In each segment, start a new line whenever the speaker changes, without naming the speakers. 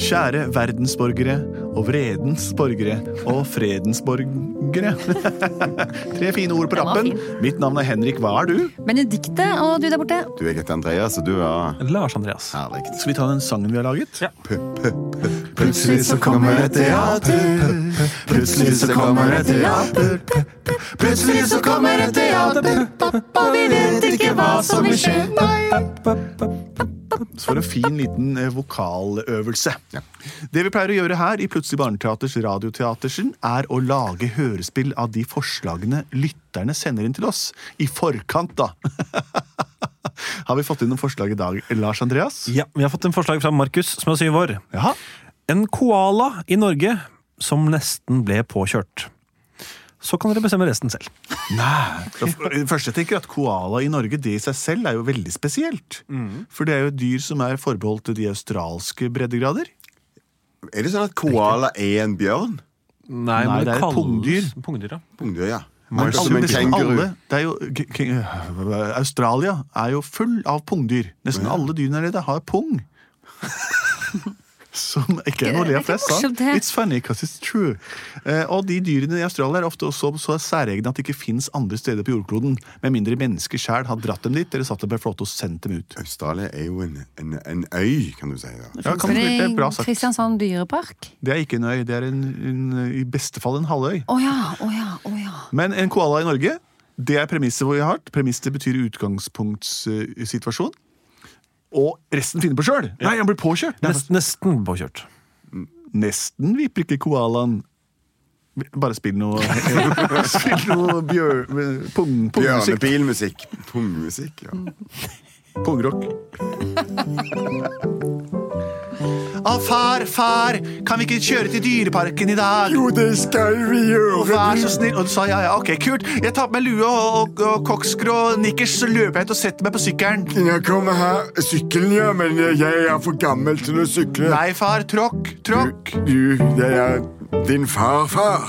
Kjære verdensborgere og vredens borgere og fredens borgere. Tre fine ord på
Den var
rappen. Mitt navn er Henrik. Hva er du?
Benedikte og du der borte.
Du jeg heter Andreas, og du er
Lars Andreas.
herlig.
Skal vi ta den sangen vi har laget?
Ja.
Plutselig så kommer et teater. Plutselig så kommer et teater. Plutselig så kommer et teater. Og vi vet ikke hva som vil skje.
For en fin liten eh, vokaløvelse. Det vi pleier å gjøre her i Plutselig barneteaters Radioteatersen, er å lage hørespill av de forslagene lytterne sender inn til oss. I forkant, da. Har vi fått inn noen forslag i dag, Lars Andreas?
Ja, vi har fått en forslag fra Markus, som er syv år.
Jaha.
En koala i Norge som nesten ble påkjørt. Så kan dere bestemme resten selv.
Da f- Først jeg tenker at Koala i Norge det i seg selv er jo veldig spesielt.
Mm.
For det er jo et dyr som er forbeholdt de australske breddegrader.
Er det sånn at koala er en bjørn?
Nei,
men det er et pungdyr.
Pungdyr, ja.
Pungdyr, ja. Men
Alle-
som en
nesten
kenguru.
altså, alle- det er jo, k- k- Australia er jo full av pungdyr. Nesten alle dyrene der det har pung. Som ikke er noe å le av
Det er ikke
flest, sant?
morsomt, det.
It's funny because it's true. Eh, og de dyrene i Australia er ofte også så særegne at de ikke fins andre steder på jordkloden. Med mindre mennesker sjæl har dratt dem dit eller satt dem på en flåte og sendt dem ut.
Australia er jo en, en, en øy, kan du si. da.
Ja, kan du
det
bruke det? Bra
i
sagt.
Kristiansand dyrepark?
Det er ikke en øy, det er en, en, i beste fall en halvøy.
Å ja, å ja, å ja.
Men en koala i Norge, det er premisset hvor vi har hatt. Premiss det betyr utgangspunktssituasjon. Og resten finner på sjøl! Nei, han blir påkjørt! Nei,
Nest, nesten påkjørt.
nesten viper ikke koalaen. Bare spill noe Spill noe bjør... Pung, pungmusikk.
Bjørnebilmusikk. Pungmusikk, ja.
Pungrock. Å, far, far, kan vi ikke kjøre til Dyreparken i dag?
Jo, det skal vi
Og
gjøre.
vær så snill. Og du sa ja, ja, ok, kult. Jeg tar på meg lue og, og, og koksgrå nikkers, så løper jeg ut og setter meg på sykkelen.
Jeg kommer her. Sykkelen, ja, men jeg er for gammel til å sykle.
Nei, far, tråkk, tråkk.
Du, jeg er din farfar.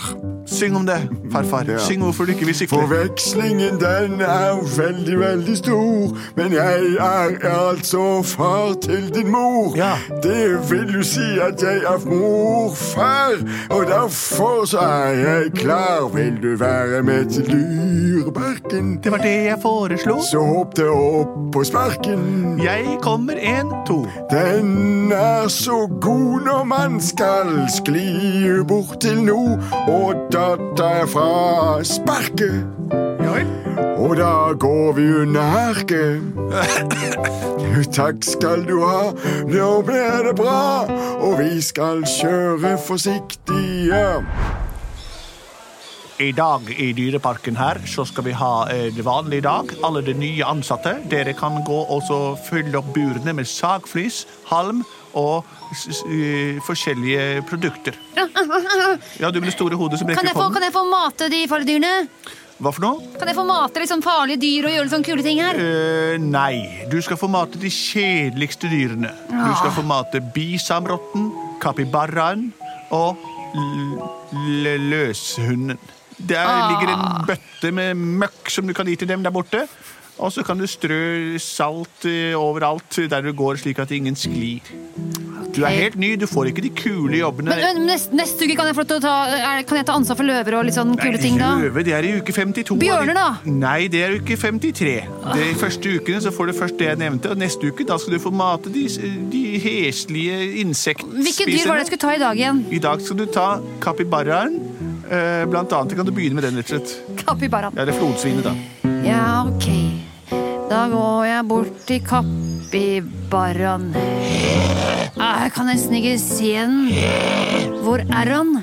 Syng om det, farfar.
Ja.
Syng hvorfor du ikke vil sykle.
Forvekslingen den er veldig, veldig stor. Men jeg er altså far til din mor.
Ja.
Det vil jo si at jeg er morfar, og derfor så er jeg klar. Vil du være med til Dyreparken?
Det var det jeg foreslo.
Så hopp det opp på sparken.
Jeg kommer en, to.
Den er så god når man skal skli bort til no og datter fra sparket.
Ja vel.
Og da går vi under herket. Takk skal du ha, nå blir det bra. Og vi skal kjøre forsiktige.
I dag i Dyreparken her så skal vi ha eh, en vanlig dag. Alle de nye ansatte. Dere kan gå og så fylle opp burene med sagflis, halm og s s eh, forskjellige produkter. Ja, du med det store hodet som
Kan
rekker
jeg, få,
hånden.
kan jeg få mate de farlige dyrene?
Hva for noe?
Kan jeg få mate liksom farlige dyr og gjøre litt sånn kule ting her?
Eh, nei, du skal få mate de kjedeligste dyrene.
Ah.
Du skal få mate bisamrotten, kapibaraen og l- l- løshunden. Der
Ah.
ligger en bøtte med møkk som du kan gi til dem der borte. Og så kan du strø salt eh, overalt der du går, slik at ingen sklir. Du er helt ny, du får ikke de kule jobbene.
Men, men neste, neste uke kan jeg, få lov til å ta, er, kan jeg ta ansvar for løver og litt sånn kule ting da?
Løve, det er i uke 52.
Bjørner, da?
Nei, det er uke 53. De første ukene så får du først det jeg nevnte, og neste uke da skal du få mate de, de heslige insektene.
Hvilke dyr var det jeg skulle ta i dag igjen?
I dag skal du ta kapibaraen. Eh, Blant annet kan du begynne med den, rett og slett.
Kapibaraen.
Ja, det er flodsvinet, da.
Ja, ok. Da går jeg bort til kapibaraen. Ah, Jeg kan nesten ikke se den. Hvor er han?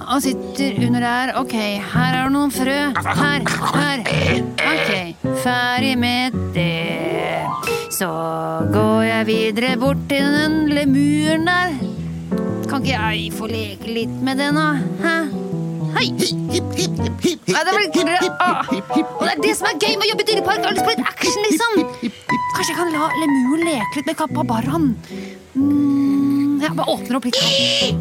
Han sitter under der. Ok, her er det noen frø. Her, her. Ok, ferdig med det. Så går jeg videre bort til den lemuren der. Kan ikke jeg få leke litt med den, da? Hæ? Hei! Nei, det var litt ah. Og det er det som er gøy med å jobbe i dyrepark. Jeg har lyst på litt action, liksom. Kanskje jeg kan la lemuren leke litt med kapabaraen. Mm, jeg bare åpner opp litt.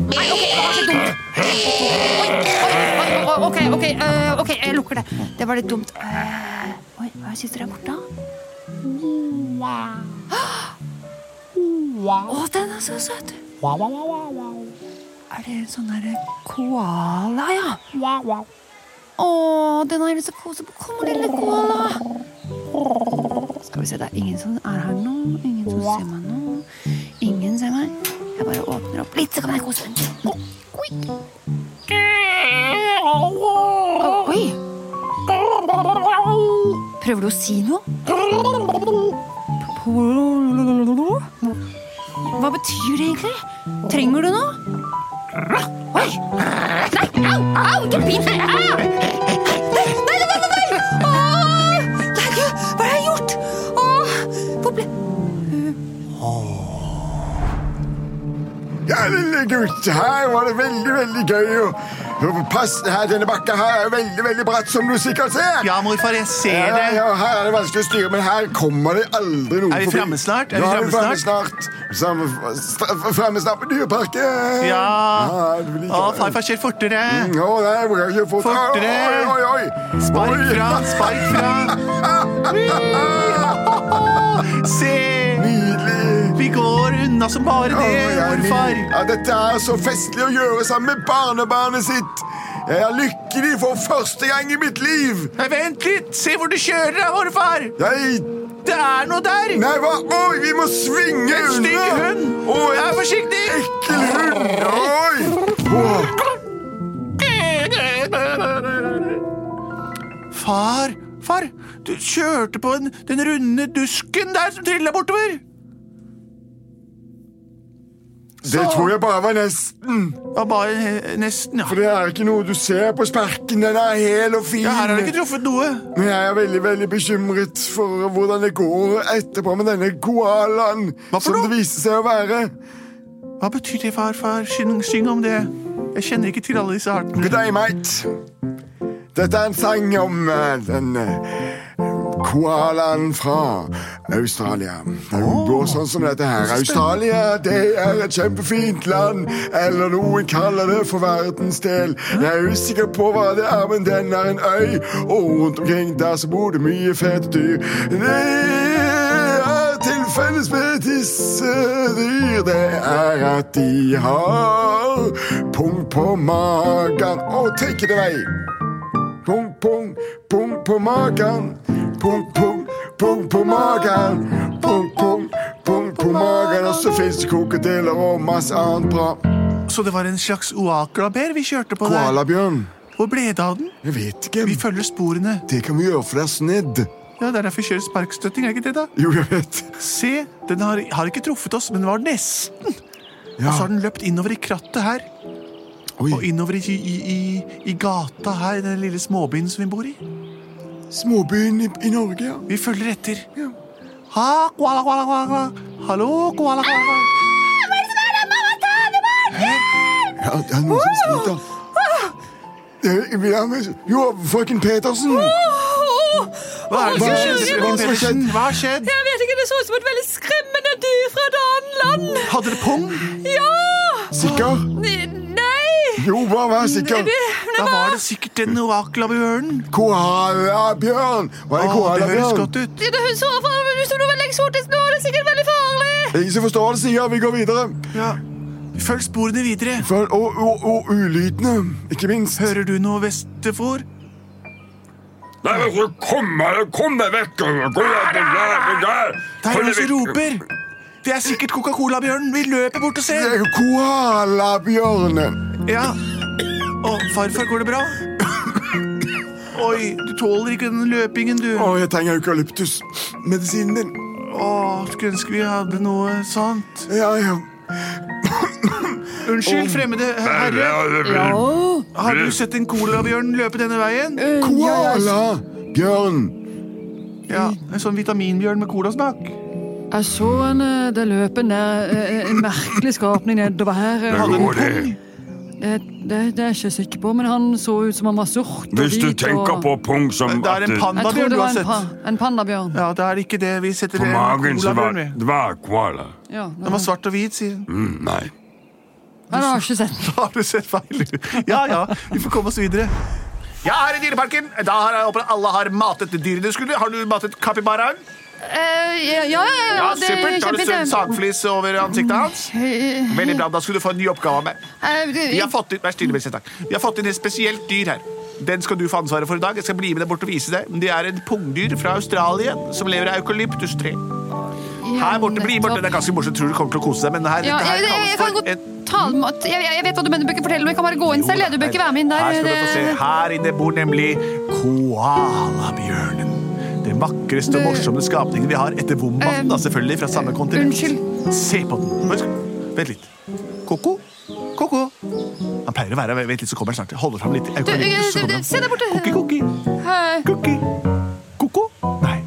Nei, ok, det var så dumt. Oi, oi, oi, oi, ok, ok, eh, ok, jeg lukker det. Det var litt dumt. Eh, oi, hva sitter der borte? Å, den er så søt! Er det en sånn derre koala, ja? Å, den har jeg lyst til å kose på. Kom, lille koala! Skal vi se, det er ingen som er her nå. Ingen som ser meg nå. Ingen ser meg. Jeg bare åpner opp litt, så kan jeg kose meg. Oi! Oi! Prøver du å si noe? Hva betyr det egentlig? Trenger du noe? Oi! Nei, au! Au! Ikke bit meg! Au! Nei, nei, nei! nei, nei. Åh! Nei, Gud, hva har jeg gjort? Åh, hvor ble
Ja, lille gutt, her var det veldig, veldig gøy. å- Pass, her, denne bakka her er veldig, veldig bratt, som du sikkert ser.
Ja, morfar, jeg ser
Ja,
det.
ja, her er det vanskelig å styre, men her kommer det aldri noen
Er vi
forbi.
fremme snart? Er vi
Nå er vi
fremme
fremme snart. Samme- st- Fremme snart på Dyreparken.
Ja.
det blir
Å,
gøy.
farfar kjører fortere.
Mm, Å, nei, jeg må ikke fort.
Fortere.
Oi, oi, oi.
Spark
Oi.
fra, spark fra. Se!
Nydelig.
Vi går unna som bare
Å,
det,
ja,
morfar.
nydelig. Ja, dette er så festlig å gjøre sammen med barnebarnet sitt. Jeg er lykkelig for første gang i mitt liv.
Nei, vent litt! Se hvor du kjører, da, morfar!
Jeg
Det er noe der!
Nei, hva? Oi, vi må svinge
En stygg
unna!
hund!
Å,
Vær
en
forsiktig!
ekkel hund! Oi!
Far, far, du kjørte på en, den runde dusken der som trilla bortover.
Det tror jeg bare var nesten.
Ja, bare eh, nesten, ja.
For det er ikke noe du ser på sparken. Den er hel og fin.
ja. Her har du ikke truffet noe.
Men jeg er veldig veldig bekymret for hvordan det går etterpå med denne koalaen.
Hva for
Som
noe?
det viste seg å være.
Hva betyr det, far, far? Syng, syng om det. Jeg kjenner ikke til alle disse artene.
Good day, mate. Dette er en sang om eh, den eh, koalaen fra Australia. Det er jo bare sånn som dette her. Australia det er et kjempefint land, eller noen kaller det for verdens del. Jeg er usikker på hva det er, men den er en øy, og rundt omkring der så bor det mye fete dyr. Det er til felles med disse dyr, det er at de har pung på magen og take it away. Pung, pung, pung på magen. Pung, pung, pung på magen. Pung, pung, pung på magen. Og så fins det krokodiller og masse annet bra.
Så det var en slags oaklaber vi kjørte på der.
Koalabjørn.
Hvor ble det av den?
Jeg vet
Vi
ikke.
følger sporene.
Det kan vi gjøre, for det er snedd.
Ja, Det er derfor vi kjører sparkstøtting, er det ikke det, da?
Jo, jeg vet.
Se, den har, har ikke truffet oss, men var nesten. Og
Ja.
så har den løpt innover i krattet her. Og
Oi,
innover i, i, i, i gata her, i den lille småbyen som vi bor i.
småbyen i, i Norge, ja.
Vi følger etter. Ha, koala, koala, koala, koala. Hallo, koala, koala. koala.
Ja, det er noen som sliter. Eh, vi er med- Jo, frøken Petersen.
Hva er det som skjedde,
Hva-
frøken
hva som har
Pedersen?
skjedd?
Hva har skjedd?
Jeg vet ikke, det så ut som et veldig skremmende dyr fra et annet land.
Hadde det pung?
Ja!
Sikker?
N- Nei!
Jo, bare vær sikker.
Det,
Da var det sikkert den ovaklabjørnen.
Koalabjørn. Hva er
Å, det høres
koalabjørn?
godt ut.
det, det så for ut som noe veldig eksotisk nå. Det er sikkert veldig farlig.
Ingen som forstår det, sier vi går videre.
Ja. Følg sporene videre.
For, og, og, og ulydene, ikke minst.
Hører du noe, Vestefor?
Nei, men så kom deg kom deg vekk! Gå deg på der, på der.
Der er
Kom
noen
deg
som
vekk.
roper. Det er sikkert Coca-Cola-bjørnen. Vi løper bort og
Det
ser.
er Koalabjørnen.
Ja. Å, farfar, går det bra? Oi, du tåler ikke den løpingen, du.
Å, jeg trenger eukalyptusmedisinen din.
Å, skulle ønske vi hadde noe sånt.
Ja, ja.
Unnskyld, fremmede herre.
Ja, det blir-
Har du sett en colabjørn løpe denne veien?
Koalabjørn.
Ja, En sånn vitaminbjørn med colasmak.
Jeg så en eh, Det løp en der eh, En merkelig skapning nedover her. eh.
Hadde
Går
den
det?
pung?
Eh,
Det, det, det er jeg ikke sikker på, men han så ut som han var sort og
Hvis du
hvit,
tenker
og-
på pung som
Det er
at
en
Jeg
panda du
tror det var
har
en,
sett.
pa, en pandabjørn.
Ja, det er ikke det. Vi setter
På
en
magen så var
colabjørn, vi.
det var koala.
Ja, det
Den
var-
var svart og hvit, sier hun.
Mm, nei.
Nei, det har jeg ikke
Eh,
sett.
Da har du sett feil. Ja, ja, vi får komme oss videre. Jeg er i dyreparken. Da har jeg håper alle har matet dyrene de skulle. Har du matet kapibaraen?
Eh, ja,
Ja,
ja, ja, det er
supert. Har du strødd
kjempefint.
sagflis over ansiktet hans? Veldig bra. Da skal du få en ny oppgave av meg.
Eh, det-
Vi har fått inn, vær stille, Belseth, takk. Vi har fått inn et spesielt dyr her. Den skal du få ansvaret for i dag. Jeg skal bli med deg bort og vise deg. Men Det er et pungdyr fra Australia som lever av eukalyptustre. Her borte, bli borte. Det er ganske morsomt. Tror du kommer til å kose deg, men her,
Ja,
dette
jeg,
her
jeg, jeg, kan
kalles
godt
for et
tale med at- jeg, jeg jeg vet hva du mener, du bør ikke fortelle noe. Jeg kan bare gå inn selv. jeg. Du bør ikke være med inn der. eh,
Her skal du få se.
det-
Her inne bor nemlig koalabjørnen. Den vakreste og
Det- Eh,
morsomste skapningen vi har etter vombaten, da, selvfølgelig, fra samme kontinent.
unnskyld.
Se på den. Bare sk- Vent litt. Koko? Koko? Han pleier å være Vent litt, så kommer han snart. Jeg Holder fram litt
Du,
eukalyptus, så
eh,
kommer
du,
han.
se der borte.
Koki, koki.
Hei.
Koki. Koko? Nei.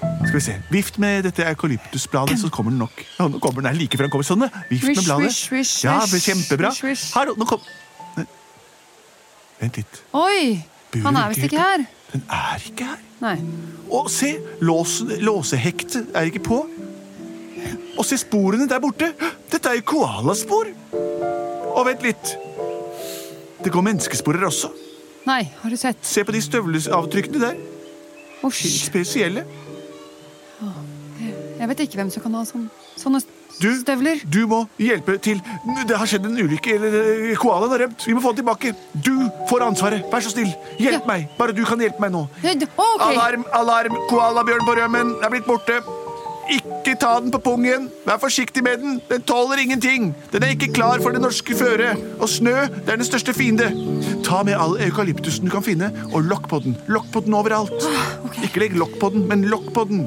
Skal vi se. Vift med dette eukalyptusbladet, så kommer den nok. Ja, nå kommer den her like før den kommer. Sånn, ja. Vift med
Swish,
bladet.
swish, swish,
Ja,
swish,
kjempebra.
swish, swish.
Her, nå kom... Vent litt.
Oi! Han er visst ikke her.
Den er ikke her.
Nei.
Og se, låsen, låsehektet er ikke på. Og se sporene der borte. Dette er jo koalaspor. Og vent litt. Det går menneskesporer også.
Nei, har du sett?
Se på de støvleavtrykkene der.
Å, skyld.
Spesielle.
Jeg vet ikke hvem som kan ha sånn, sånne
Du,
støvler.
du må hjelpe til. Det har skjedd en ulykke. eller eh, Koalaen har rømt. Vi må få den tilbake. Du får ansvaret. Vær så snill. Hjelp
Ja.
meg. Bare du kan hjelpe meg nå.
Hei, d- å, ok.
Alarm, alarm! Koalabjørn på rømmen er blitt borte. Ikke ta den på pungen. Vær forsiktig med den. Den tåler ingenting. Den er ikke klar for det norske føret. Og snø, det er den største fiende. Ta med all eukalyptusen du kan finne, og lokk på den. Lokk på den overalt.
Ah,
Ikke legg lokk på den, men lokk på den.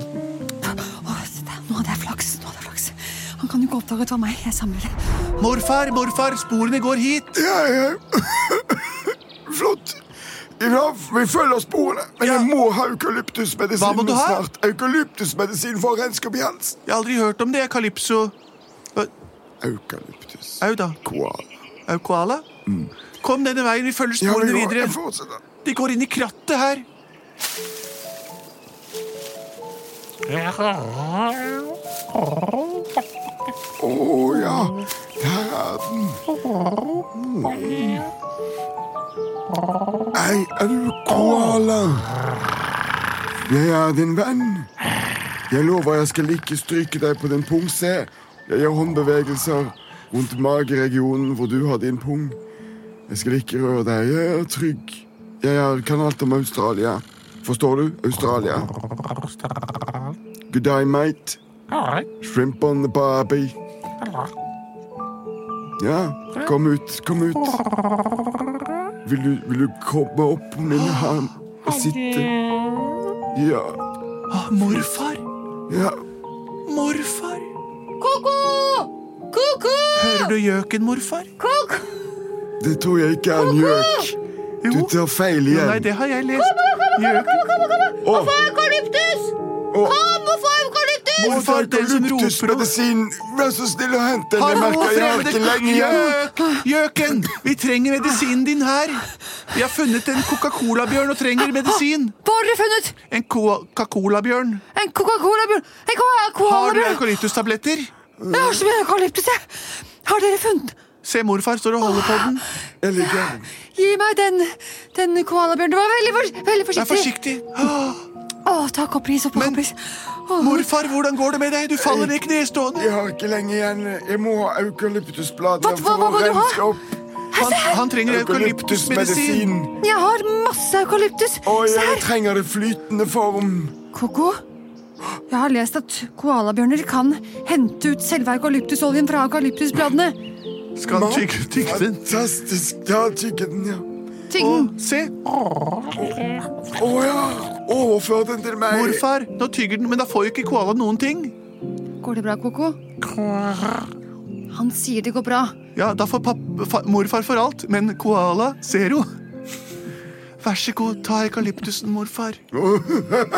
Å, se der. Nå hadde jeg flaks. Nå hadde jeg flaks. Han kan jo ikke oppdage at det var meg. Jeg samler det.
Morfar, morfar, sporene går hit.
Ja, ja. Flott. Vi har- Vi følger sporene, men
Ja.
jeg må ha eukalyptusmedisin
Hva må du ha?
snart. Eukalyptusmedisin for å renske opp i halsen.
Jeg har aldri hørt om det, Calypso.
Eukalyptus.
Au da.
Koala.
Au, koala? Kom denne veien, vi følger
Ja,
sporene
vi må-
videre.
jeg fortsetter.
De går inn i krattet her.
Å ja, der er den. Jeg er koala. Jeg er din venn. Jeg lover jeg skal ikke stryke deg på din pung, se. Jeg gjør håndbevegelser rundt mageregionen hvor du har din pung. Jeg skal ikke røre deg. Jeg er trygg. Jeg er, kan alt om Australia. Forstår du? Australia. Good day, mate. Shrimp on the barbie. Ja, kom ut, kom ut. Vil du, vil du komme opp på min arm og sitte? Ja,
Å, Ah, morfar,
ja.
morfar.
Koko! Koko!
Hører du gjøken, morfar?
Koko!
Det tror jeg ikke er en gjøk. Du
Jo.
tar feil
Ja, nei,
igjen.
det har jeg lest. Gjøken.
Å,
Eukalyptus!
å,
Hvorfor eukalyptus?
Morfar, den som roper og
eukalyptusmedisin. Vær så snill å hente den. Jeg merker jeg har ikke lenge igjen.
Gjøk! Gjøken! Vi trenger medisinen din her. Vi har funnet en Coca-Cola-bjørn og trenger medisin.
Hva har dere funnet?
En Coca-Cola-bjørn.
En Coca-Cola-bjørn? En Coca-
Har du
Cola-bjørn?
eukalyptustabletter?
Jeg har så mye eukalyptus, jeg. Har dere funnet
Se, morfar står og holder på den.
Jeg ligger her.
Gi meg den, den koalabjørnen. Du var veldig, for, veldig
Vær
forsiktig.
forsiktig. Åh,
Å, ta koppris og
Men-
koppris. Åh.
Morfar, hvordan går det med deg? Du faller ned knestående.
Jeg har ikke lenge igjen. Jeg må ha
Hva-
eukalyptusblader
hva-
for
hva
å
må du ha?
renske opp
Han, han trenger eukalyptusmedisin.
eukalyptusmedisin.
Jeg har masse eukalyptus.
Og
Se
jeg
her.
trenger det flytende form.
Koko, jeg har lest at koalabjørner kan hente ut selve eukalyptusoljen fra eukalyptusbladene.
Skal han tygge tygge den?
Fantastisk. Ja, tygget den, ja.
Tyggen.
Se,
Å ja. Overfør den til meg.
morfar, nå tygger den, men da får jo ikke koala noen ting.
Går det bra, Koko? Han sier det går bra.
Ja, da får papp, fa, morfar for alt, men koala zero. Vær så god, ta eukalyptusen, morfar.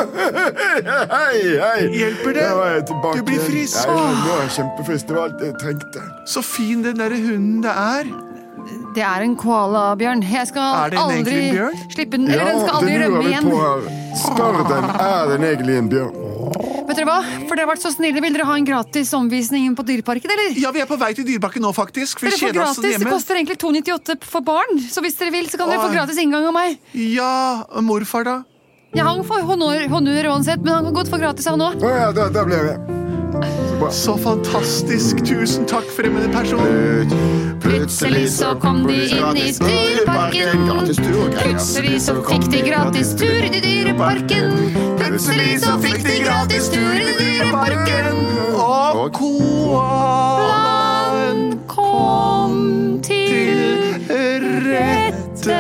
Hei, hei!
Hjelper det?
Der var jeg tilbake.
Du blir
igjen.
frisk.
Nei, Nå er jeg kjempefrisk. Det var alt jeg trengte.
Så fin den derre hunden det er.
Det er en koalabjørn. Jeg
Er
skal
det en
aldri
egentlig bjørn?
slippe den.
Ja,
Eller den skal aldri
det
rømme
lurer vi
igjen.
på her. Spør den, er den egentlig en bjørn?
Vet dere hva? For dere har vært så snille. Vil dere ha en gratis omvisning på Dyreparken, eller?
Ja, vi er på vei til Dyrebakken nå, faktisk. for Vi
Dere får
kjeder oss
gratis, Det
hjemme.
koster egentlig 298 for barn, så hvis dere vil, så kan dere få
Åh.
gratis inngang av meg.
Ja, morfar, da?
Ja, han får honnør, honnør uansett, men han kan godt få gratis, han òg.
Å ja, der, der ble jeg.
Så fantastisk. Tusen takk, fremmede person.
Plutselig så kom de inn i dyreparken. Plutselig så fikk de gratis tur i dyreparken. Plutselig så fikk de gratis tur i dyreparken.
Og koalaen
Kom til
til rette.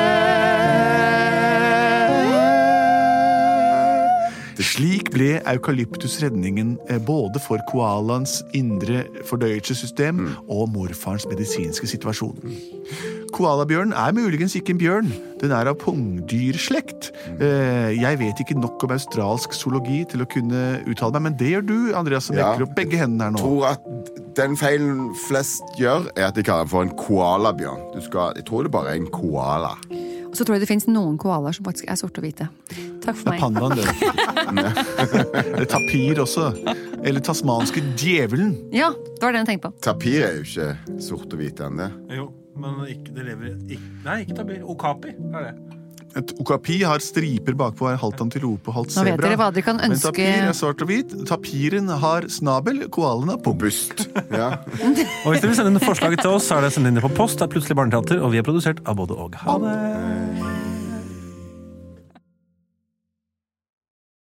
Slik ble eukalyptus redningen eh, både for koalaens indre fordøyelsessystem og morfarens medisinske situasjon. Koalabjørnen er muligens ikke en bjørn. Den er av pungdyrslekt. Eh, Jeg vet ikke nok om australsk zoologi til å kunne uttale meg, men det gjør du, Andreas, som
Ja.
rekker opp begge hendene her nå.
tror at den feilen flest gjør, er at de kaller den for en koalabjørn. Du skal, jeg tror det bare er en koala.
Og så tror jeg det fins noen koalaer som faktisk er sorte og hvite. Takk for
Det er
meg.
pandaen, det. Eller tapir også. Eller tasmanske djevelen.
Ja, det var det jeg tenkte på.
Tapir er jo ikke sort og hvit ennå.
Jo, men ikke, det lever ikke, Nei, ikke tabir. Okapi er det.
Et okapi har striper bakpå, er halvt antilope og halvt
Nå vet
sebra.
dere hva dere kan
Men
ønske.
tapir er svart og hvit. Tapiren har snabel, koalen har pung.
Bust. Ja.
Og hvis dere vil sende inn forslag til oss, så er det å sende inn det på post. Det er plutselig barneteater, og vi er produsert av både og. Ha det!